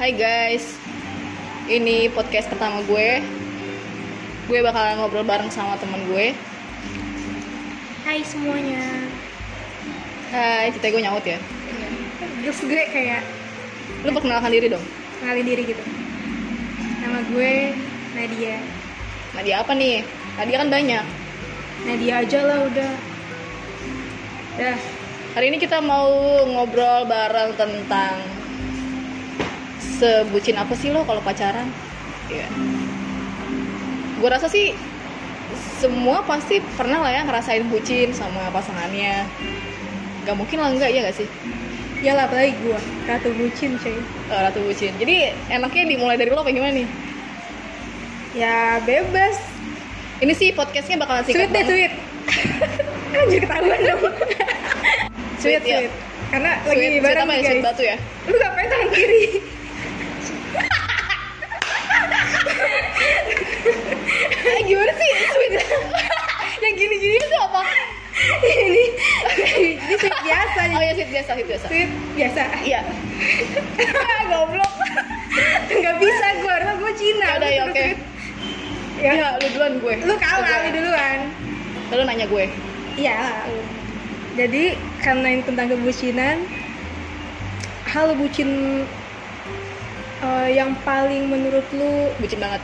Hai guys, ini podcast pertama gue. Gue bakalan ngobrol bareng sama temen gue. Hai semuanya. Hai, kita gue nyaut ya. Terus gue kayak Lu perkenalkan diri dong. ngalih diri gitu. Nama gue Nadia. Nadia Nah, apa nih? Nadia kan banyak. Nadia aja lah udah. Dah, Hari ini kita mau ngobrol bareng tentang sebucin apa sih lo kalau pacaran? Iya. Gue rasa sih semua pasti pernah lah ya ngerasain bucin sama pasangannya. Gak mungkin lah enggak ya gak sih? iyalah apalagi gue ratu bucin cuy. Eh, Ratu bucin. Jadi enaknya dimulai dari lo apa gimana nih? Ya bebas. Ini sih podcastnya bakalan singkat Sweet deh banget. sweet. Anjir ketahuan dong. Sweet, sweet, ya. sweet. Karena lagi Sweet, sweet bareng apa ya? Sweet guys. batu ya? Lu ngapain tangan kiri? Eh, gimana sih sweet? Yang gini-gini itu apa? ini ini sweet biasa. Oh ya sweet biasa, sweet biasa. Sweet biasa. Iya. goblok nggak bisa gue harusnya gue Cina Ya udah Lu ya oke. suruh tweet. ya, Ya, lu duluan gue. lu kalah Lu lu duluan. duluan Lalu nanya gue. iya lu. jadi karena ini tentang kebucinan hal bucin eh, yang paling menurut lu Bucin banget.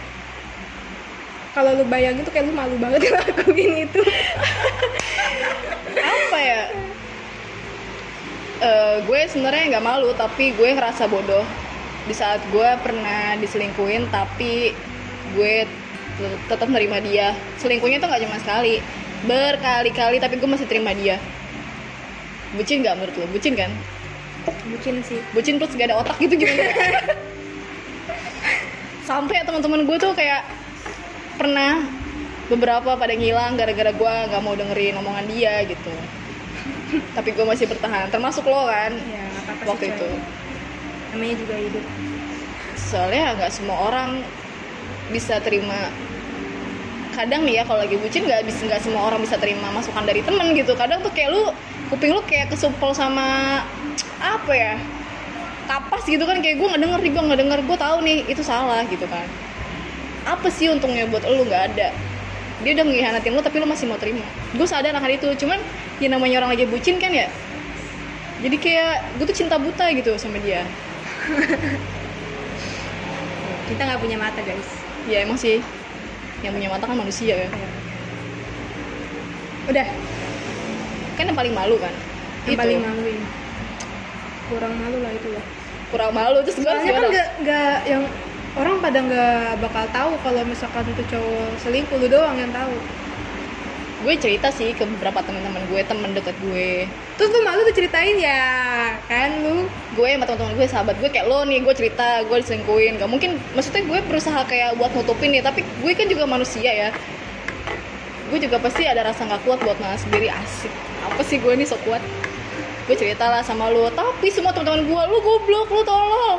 kalau lu bayangin tuh kayak lu malu banget ngelakuin itu Apa ya? Eh, gue sebenarnya nggak malu tapi gue ngerasa bodoh di saat gue pernah diselingkuhin tapi gue te- tetap nerima dia selingkuhnya tuh nggak cuma sekali berkali-kali tapi gue masih terima dia bucin nggak menurut lo bucin kan bucin sih bucin terus gak ada otak gitu gimana sampai teman-teman gue tuh kayak pernah beberapa pada ngilang gara-gara gue nggak mau dengerin omongan dia gitu tapi gue masih bertahan termasuk lo kan ya nggak apa-apa sih, waktu coy. itu namanya juga hidup soalnya nggak semua orang bisa terima kadang nih ya kalau lagi bucin nggak bisa nggak semua orang bisa terima masukan dari temen gitu kadang tuh kayak lu kuping lu kayak kesumpel sama apa ya kapas gitu kan kayak gue nggak denger nih gue nggak denger gue tahu nih itu salah gitu kan apa sih untungnya buat lu nggak ada dia udah mengkhianatin lu tapi lu masih mau terima gue sadar akan itu cuman ya namanya orang lagi bucin kan ya jadi kayak gue tuh cinta buta gitu sama dia kita nggak punya mata guys ya emang sih yang punya mata kan manusia ya udah kan yang paling malu kan yang paling maluin kurang malu lah itu lah kurang malu terus gue soalnya kan gimana? nggak nggak yang orang pada nggak bakal tahu kalau misalkan itu cowok selingkuh lu doang yang tahu gue cerita sih ke beberapa teman-teman gue temen deket gue terus lu malu tuh ceritain ya kan lu gue sama teman-teman gue sahabat gue kayak lo nih gue cerita gue diselingkuhin gak mungkin maksudnya gue berusaha kayak buat nutupin nih tapi gue kan juga manusia ya gue juga pasti ada rasa nggak kuat buat nahan sendiri asik apa sih gue nih sok kuat gue cerita lah sama lo tapi semua teman-teman gue lu goblok lu tolol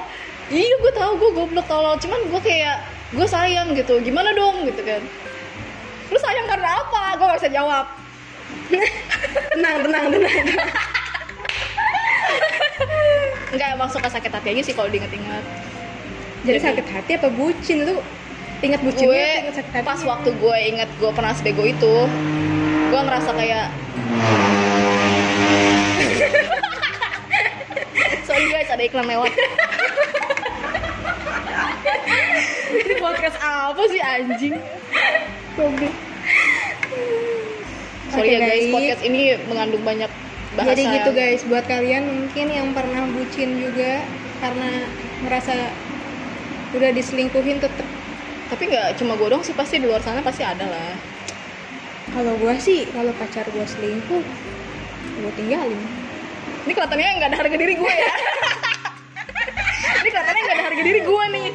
iya gue tahu gue goblok tolol cuman gue kayak gue sayang gitu gimana dong gitu kan lu sayang karena apa gue gak bisa jawab tenang tenang tenang nggak emang suka sakit hati aja sih kalau diinget-inget jadi Jadi- sakit hati apa bucin lu ingat bucinnya gue atau ingat sakit hati pas waktu gue inget gue pernah sebego itu gue ngerasa kayak sorry guys ada iklan lewat ini podcast apa sih anjing sorry Oke, ya guys baik. podcast ini mengandung banyak bahasa jadi gitu yang- guys buat kalian mungkin yang pernah bucin juga karena merasa udah diselingkuhin tetep tapi nggak cuma gue dong sih pasti di luar sana pasti ada lah kalau gua sih kalau pacar gua selingkuh gua tinggalin ini kelihatannya nggak ada harga diri gue ya ini kelihatannya nggak ada harga diri gue nih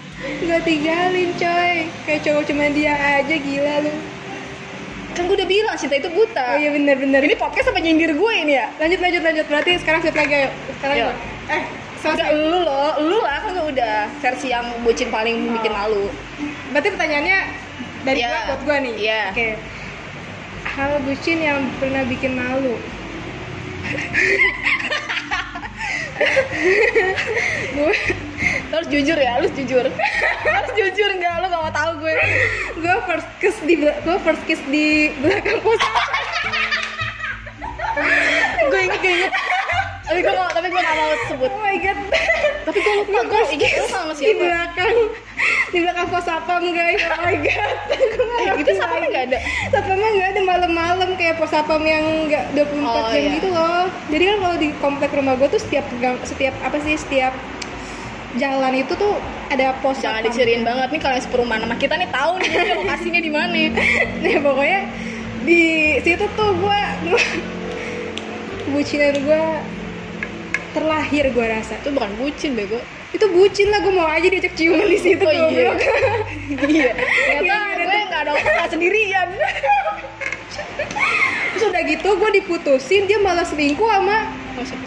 Gak tinggalin coy Kayak cowok cuma dia aja gila lu kan gue udah bilang cinta itu buta Oh iya bener bener Ini podcast apa nyindir gue ini ya? Lanjut lanjut lanjut Berarti sekarang siap lagi ayo Sekarang Yuk. gua. Eh Enggak, selesai lu loh, lu lah kan gue udah versi yang bucin paling bikin Oh. malu Berarti pertanyaannya Dari Iya. gua buat gua nih Iya. Oke Hal bucin yang pernah bikin malu Gue Lu harus jujur ya, lu harus jujur. Lu harus jujur enggak lu gak mau tahu gue. gue first kiss di bel- gue first kiss di belakang pos gue inget gue inget. Tapi gue mau, tapi gue gak mau sebut. oh my god Tapi gue lupa gue first inget kiss lu sama di siapa. belakang di belakang pos sapam guys oh my god Gua Eh, ngerti itu sama lagi. enggak ada. Satpamnya nggak ada malam-malam kayak pos satpam yang nggak 24 Oh, jam iya. gitu loh. Jadi kan kalau di komplek rumah gue tuh setiap gang, setiap apa sih setiap jalan itu tuh ada pos Jangan satpam. diciriin banget nih kalau yang seperumahan sama kita nih tahu nih dia lokasinya di mana. Nah, pokoknya di situ tuh gue bucinan gue terlahir gue rasa. Itu bukan bucin bego. Itu bucin lah gue mau aja diajak ciuman di situ Oh, iya. goblok. iya. Iya, Ternyata gue ada tuh. gak ada otak sendirian. Terus udah gitu gue diputusin dia malah selingkuh sama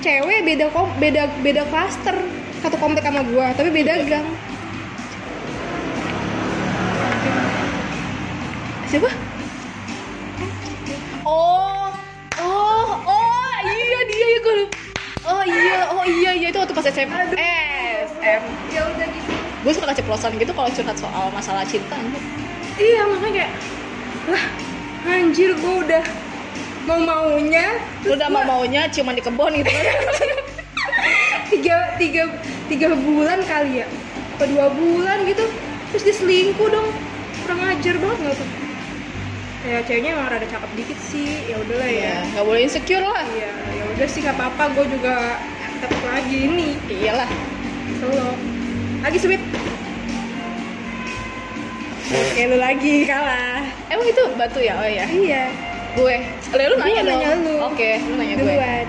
cewek beda kom beda beda klaster satu komplek sama gua tapi beda gang Siapa? Oh, oh, oh, iya dia ya gue. Oh iya, oh iya, iya itu waktu pas SM. SM. ya udah gitu Gue suka keceplosan gitu kalau curhat soal masalah cinta. anjir. iya makanya kayak lah anjir gua udah mau maunya Lu udah mau maunya ciuman di kebun gitu kan. tiga tiga tiga bulan kali ya atau dua bulan gitu terus dia selingkuh dong kurang ajar banget nggak tuh ya ceweknya emang rada cakep dikit sih ya udahlah ya Iya, nggak boleh insecure lah. iya ya udah sih nggak apa-apa gue juga tetap lagi ini Iyalah. Solo. Lagi sweet. Oke, lu lagi kalah. Emang itu batu ya? Oh iya. Iya. Gue. Lah, lu Gua nanya dong. nanya lu. Oke, lu nanya gue. Duluan.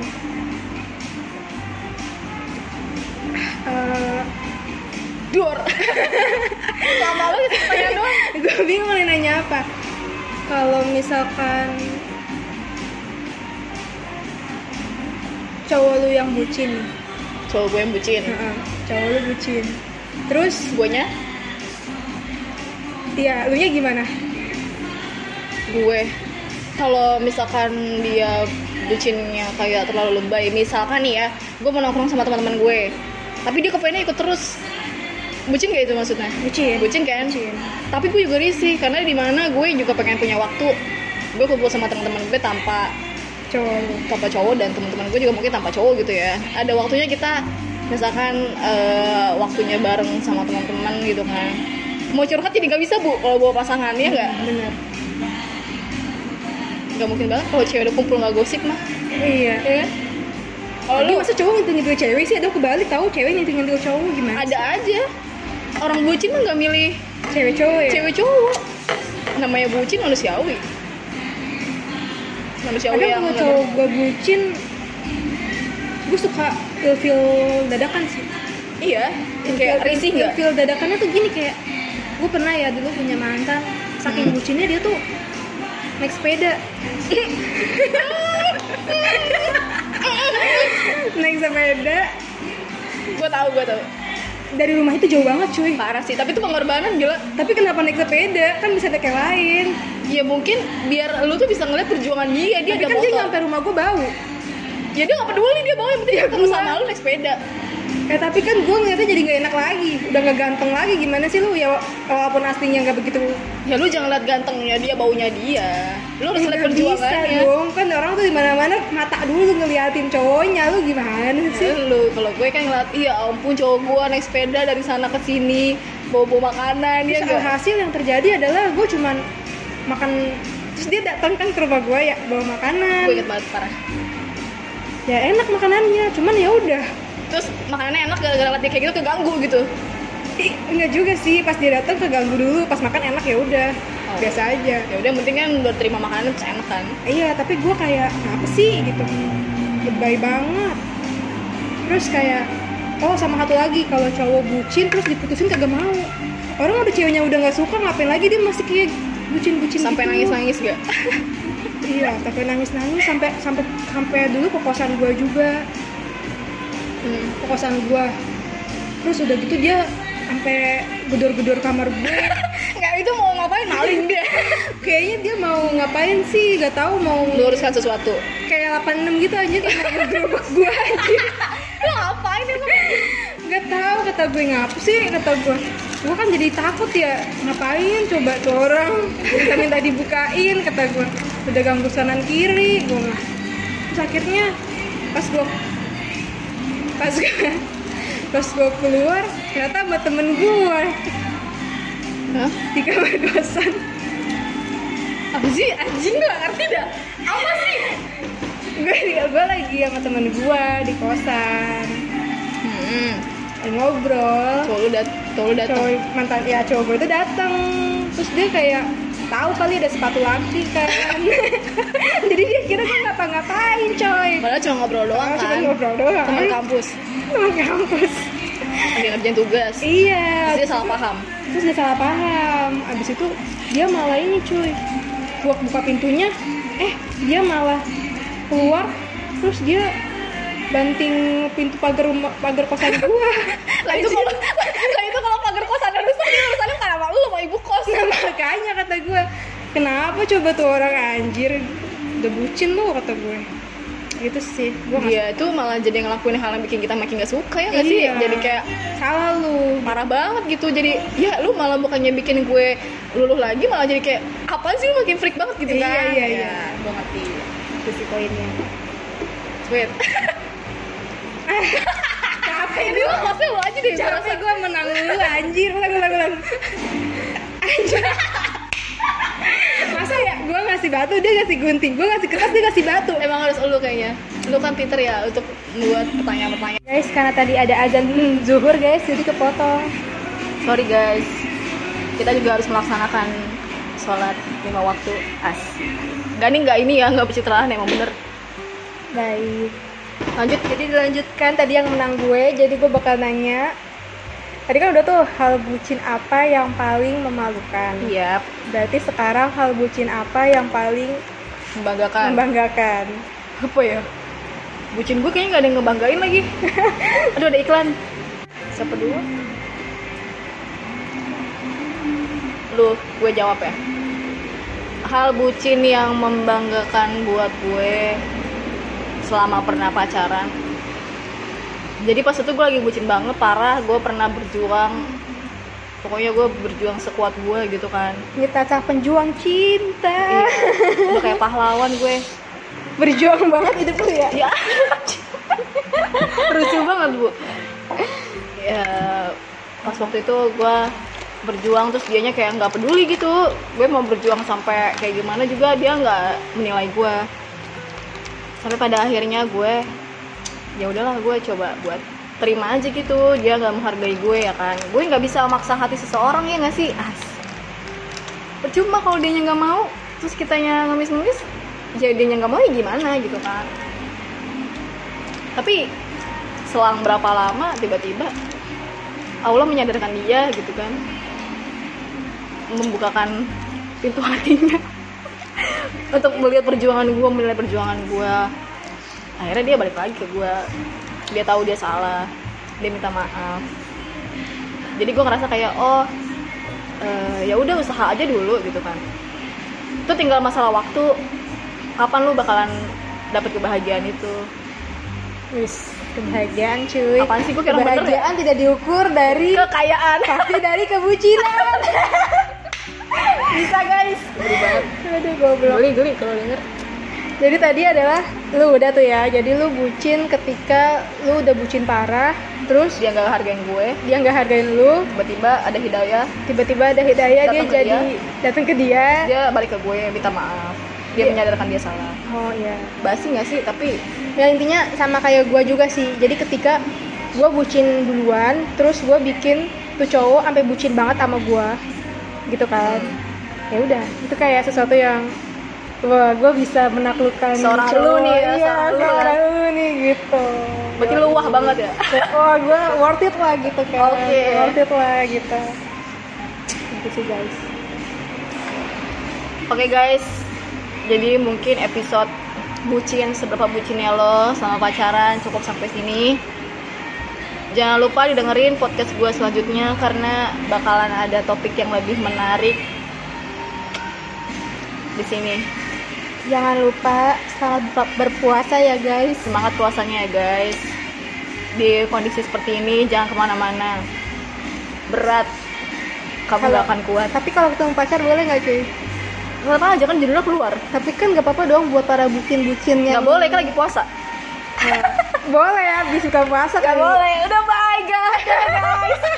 Eh, Dor. Lama lu tanya doang. gue bingung nih nanya apa. Kalau misalkan cowok lu yang bucin, nih. Cowok gue yang bucin. Heeh, cowok lu bucin. Terus, Gue nya ya, lu nya gimana? gue kalau misalkan dia bucinnya kayak terlalu lebay misalkan nih ya gue mau nongkrong sama teman-teman gue tapi dia kepengennya ikut terus bucin gak itu maksudnya Bucin. bucin kan Bucin. tapi gue juga risih karena di mana gue juga pengen punya waktu gue kumpul sama teman-teman gue tanpa Cowok lu. tanpa cowok dan teman-teman gue juga mungkin tanpa cowok gitu ya ada waktunya kita misalkan eh, waktunya bareng sama teman-teman gitu kan mau curhat jadi nggak bisa bu kalau bawa pasangan ya nggak Bener. nggak mungkin banget kalau cewek udah kumpul nggak gosip mah Iya. ya kan? kalau Lagi lu masa cowok nyentuh-nyentuh cewek sih, ada kebalik tahu cewek nyentuh-nyentuh cowok gimana? ada aja orang bucin mah nggak milih cewek cowok ya. cewek cowok namanya bucin manusiawi manusiawi Kadang yang kalau cowok gue bucin, gue suka feel dadakan sih. iya kayak Ilfil- risih nggak ilfil dadakannya tuh gini kayak gue pernah ya dulu punya mantan Hmm. saking bucinnya dia tuh naik sepeda naik sepeda gitu. gue tahu gue tahu dari rumah itu jauh banget cuy parah sih tapi itu pengorbanan gila tapi kenapa naik sepeda kan bisa naik yang lain ya mungkin biar lu tuh bisa ngeliat perjuangan dia dia Iya, tapi ada kan dia motor nyampe Ya, rumah gue bau ya dia nggak peduli dia bawa yang penting dia ketemu gua- sama lu naik sepeda Ya tapi kan gue ngeliatnya jadi nggak enak lagi, udah nggak ganteng lagi gimana sih lu ya walaupun aslinya nggak begitu. ya lu jangan liat gantengnya dia baunya dia lu harus Ya liat nggak bisa perjuangannya dong, kan orang tuh dimana-mana mata dulu ngeliatin cowoknya lu gimana sih? lu kalau gue kan ngeliat iya ampun cowok gue naik sepeda dari sana ke sini bawa bawa makanan dia Iya, Terus enggak alhasil yang terjadi adalah gue cuman makan terus dia datang kan ke rumah gue ya bawa gue makanan inget banget parah ya enak makanannya cuman ya udah terus makanannya enak gara-gara liat dia kayak gitu keganggu gitu Ih, enggak juga sih pas dia datang keganggu dulu pas makan enak ya udah Oh. biasa aja ya udah yang penting kan udah terima makanan terus enak kan iya tapi gue kayak apa sih gitu lebay banget terus kayak oh sama satu lagi kalau cowok bucin terus diputusin kagak mau orang udah ceweknya udah nggak suka ngapain lagi dia masih kayak bucin-bucin sampai gitu. nangis-nangis gak iya sampai nangis nangis sampai sampai sampai dulu ke kosan gue juga hmm. ke kosan gue terus udah gitu dia sampai gedor-gedor kamar gue nggak itu mau ngapain maling dia kayaknya dia mau ngapain sih gak tahu mau luruskan sesuatu kayak 86 gitu aja kayak mau gerobak gue aja lu ngapain emang nggak tahu kata gue ngapa sih kata gue gue kan jadi takut ya ngapain coba tuh orang minta minta dibukain kata gue udah ganggu kanan kiri gue mah. terus akhirnya pas gue pas gue pas gue keluar ternyata sama temen gue Hah? di kamar kosan Apa sih? Anjing gak ngerti dah. Apa sih? gue gue lagi sama temen gue di kosan Hmm, Lagi ngobrol cowok lu dat cowok lu datang. cowok mantan ya cowok gue itu datang terus dia kayak tahu kali ada sepatu laki kan jadi dia kira gue ngapa-ngapain coy Padahal cuma ngobrol doang Padahal kan. cuma ngobrol doang. Teman kampus, Temen kampus lagi ngerjain tugas. iya Terus dia salah paham. terus dia salah paham abis itu dia malah ini cuy gua buka pintunya eh dia malah keluar terus dia banting pintu pagar rumah pagar kosan gua Lah itu kalau lah itu kalau pagar kosan ada rusak, dia urusannya bukan sama lu, sama ibu kos. Nah, makanya kata gue kenapa coba tuh orang anjir udah bucin lu kata gue gitu sih gue nggak Dia tuh malah jadi ngelakuin hal yang bikin kita makin gak suka ya gak Iya. sih? Jadi kayak salah lu parah banget gitu jadi ya lu malah bukannya bikin gue luluh lagi malah jadi kayak apa sih lu makin freak banget gitu Iya, kan iya, iya. Ya, gue ngerti itu Gitu sih poinnya sweet capek ini lu maksudnya lu aja deh yang capek ngerasa. gue menang lu anjir ulang ulang ulang anjir masa ya gue ngasih batu dia ngasih gunting gue ngasih kertas dia ngasih batu emang harus lu kayaknya lu kan pinter ya untuk buat pertanyaan-pertanyaan guys karena tadi ada azan hmm, zuhur guys jadi kepotong sorry guys kita juga harus melaksanakan sholat lima waktu as Gak nih gak ini ya gak pencitraan emang bener baik lanjut Jadi dilanjutkan tadi yang menang gue, jadi gue bakal nanya. Tadi kan udah tuh hal bucin apa yang paling memalukan. iya Berarti sekarang hal bucin apa yang paling membanggakan membanggakan? apa ya bucin gue kayaknya gak ada yang ngebanggain lagi aduh ada iklan siapa dulu lu gue jawab ya hal bucin yang membanggakan buat gue selama pernah pacaran jadi pas itu gue lagi bucin banget parah gue pernah berjuang pokoknya gue berjuang sekuat gue gitu kan Kita cah penjuang cinta. Iya. udah kayak pahlawan gue Berjuang banget hidup lu ya. ya lucu banget bu ya pas waktu itu gue berjuang terus dianya kayak nggak peduli gitu gue mau berjuang sampai kayak gimana juga dia nggak menilai gue sampai pada akhirnya gue ya udahlah gue coba buat terima aja gitu dia nggak menghargai gue ya kan gue nggak bisa maksa hati seseorang ya nggak sih as percuma kalau dia nggak mau terus kitanya ngemis-ngemis jadi dia nggak mau ya gimana gitu kan tapi selang berapa lama tiba-tiba Allah menyadarkan dia gitu kan membukakan pintu hatinya untuk melihat perjuangan gue melihat perjuangan gue akhirnya dia balik lagi ke gue dia tahu dia salah dia minta maaf jadi gue ngerasa kayak oh eh, ya udah usaha aja dulu gitu kan itu tinggal masalah waktu kapan lu bakalan dapet kebahagiaan itu Wis, kebahagiaan cuy. Apaan sih, gue kira bener ya? kebahagiaan tidak diukur dari kekayaan tapi dari kebucinan. Bisa guys. Aduh goblok. geli geli kalau denger Jadi tadi adalah lu udah tuh ya. Jadi lu bucin ketika lu udah bucin parah, terus dia nggak hargain gue dia nggak hargain lu, tiba-tiba ada hidayah tiba-tiba ada hidayah dia Datang ke jadi datang ke dia. dia balik ke gue minta maaf dia Iya. menyadarkan dia salah Oh iya. basi nggak sih tapi Ya intinya sama kayak gua juga sih. Jadi ketika gua bucin duluan, terus gua bikin tuh cowok sampai bucin banget sama gua. Gitu kan. Ya udah, itu kayak sesuatu yang wah, gua bisa menaklukkan Seorang cowok. lu nih ya, Iya, seorang lu ya. seorang lu nih gitu. berarti lu wah banget ya oh gue worth it lah gitu kan Oke. worth it lah gitu gitu sih guys oke guys jadi mungkin episode bucin seberapa bucinnya lo sama pacaran cukup sampai sini jangan lupa didengerin podcast gue selanjutnya karena bakalan ada topik yang lebih menarik di sini jangan lupa selamat buka- berpuasa ya guys semangat puasanya ya guys di kondisi seperti ini jangan kemana-mana berat kamu gak Kalau- akan kuat Tapi kalau ketemu pacar boleh nggak cuy? kenapa aja kan judulnya keluar Tapi kan nggak apa-apa dong buat para bucin-bucin yang nggak boleh kan lagi puasa Nah, boleh ya, habis buka puasa nggak kali. boleh udah bye guys